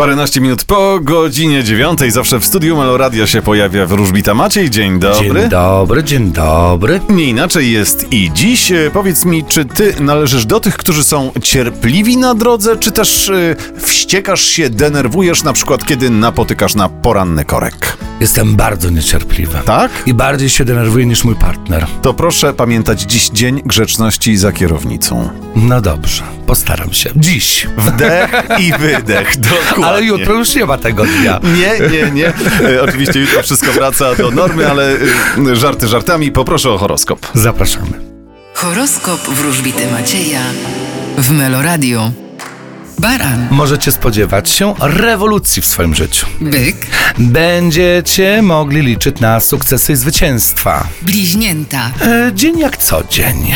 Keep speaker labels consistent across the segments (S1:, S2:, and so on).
S1: Paręnaście minut po godzinie dziewiątej zawsze w studiu Meloradia się pojawia wróżbita Maciej. Dzień dobry.
S2: Dzień dobry, dzień dobry.
S1: Nie inaczej jest i dziś. E, Powiedz mi, czy ty należysz do tych, którzy są cierpliwi na drodze, czy też e, wściekasz się, denerwujesz na przykład, kiedy napotykasz na poranny korek?
S2: Jestem bardzo niecierpliwy.
S1: Tak?
S2: I bardziej się denerwuję niż mój partner.
S1: To proszę pamiętać dziś dzień grzeczności za kierownicą.
S2: No dobrze, postaram się. Dziś.
S1: Wdech i wydech, dokładnie.
S2: Ale jutro już nie ma tego dnia.
S1: Nie, nie, nie. E, Oczywiście jutro wszystko wraca do normy, ale e, żarty żartami. Poproszę o horoskop.
S2: Zapraszamy.
S3: Horoskop wróżbity Macieja w Meloradio. Baran,
S2: Możecie spodziewać się rewolucji w swoim życiu.
S3: byk,
S2: Będziecie mogli liczyć na sukcesy i zwycięstwa.
S3: bliźnięta,
S2: E, dzień jak co dzień.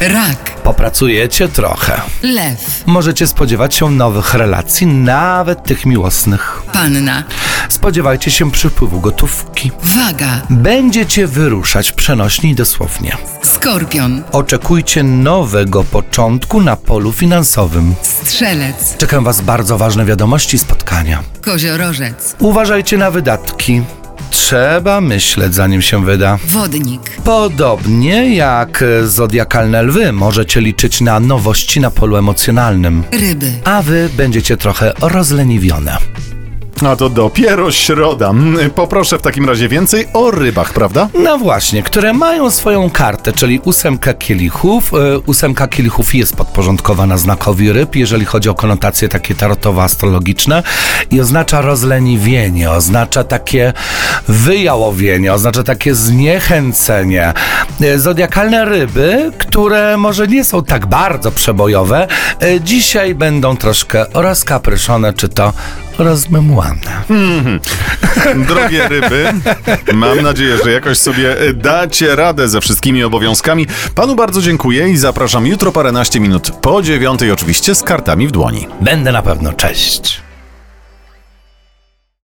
S3: rak,
S2: Popracujecie trochę.
S3: lew,
S2: Możecie spodziewać się nowych relacji, nawet tych miłosnych.
S3: panna,
S2: Spodziewajcie się przypływu gotówki.
S3: waga,
S2: Będziecie wyruszać przenośni i dosłownie.
S3: skorpion,
S2: Oczekujcie nowego początku na polu finansowym.
S3: strzelec,
S2: Czekam Was bardzo ważne wiadomości i spotkania.
S3: koziorożec,
S2: Uważajcie na wydatki. Trzeba myśleć, zanim się wyda.
S3: wodnik,
S2: Podobnie jak e, zodiakalne lwy, możecie liczyć na nowości na polu emocjonalnym.
S3: ryby.
S2: A wy będziecie trochę rozleniwione.
S1: A to dopiero środa. Mm, Poproszę w takim razie więcej o rybach, prawda?
S2: No właśnie, które mają swoją kartę, czyli ósemka kielichów. E, Ósemka kielichów jest podporządkowana znakowi ryb, jeżeli chodzi o konotacje takie tarotowo-astrologiczne i oznacza rozleniwienie, oznacza takie wyjałowienie, oznacza takie zniechęcenie. E, Zodiakalne ryby, które może nie są tak bardzo przebojowe, e, dzisiaj będą troszkę rozkapryszone, czy to rozmemłane.
S1: Drogie ryby, mam nadzieję, że jakoś sobie e, dacie radę ze wszystkimi obowiązkami. Panu bardzo dziękuję i zapraszam jutro paręnaście minut po dziewiątej oczywiście z kartami w dłoni.
S2: Będę na pewno, cześć.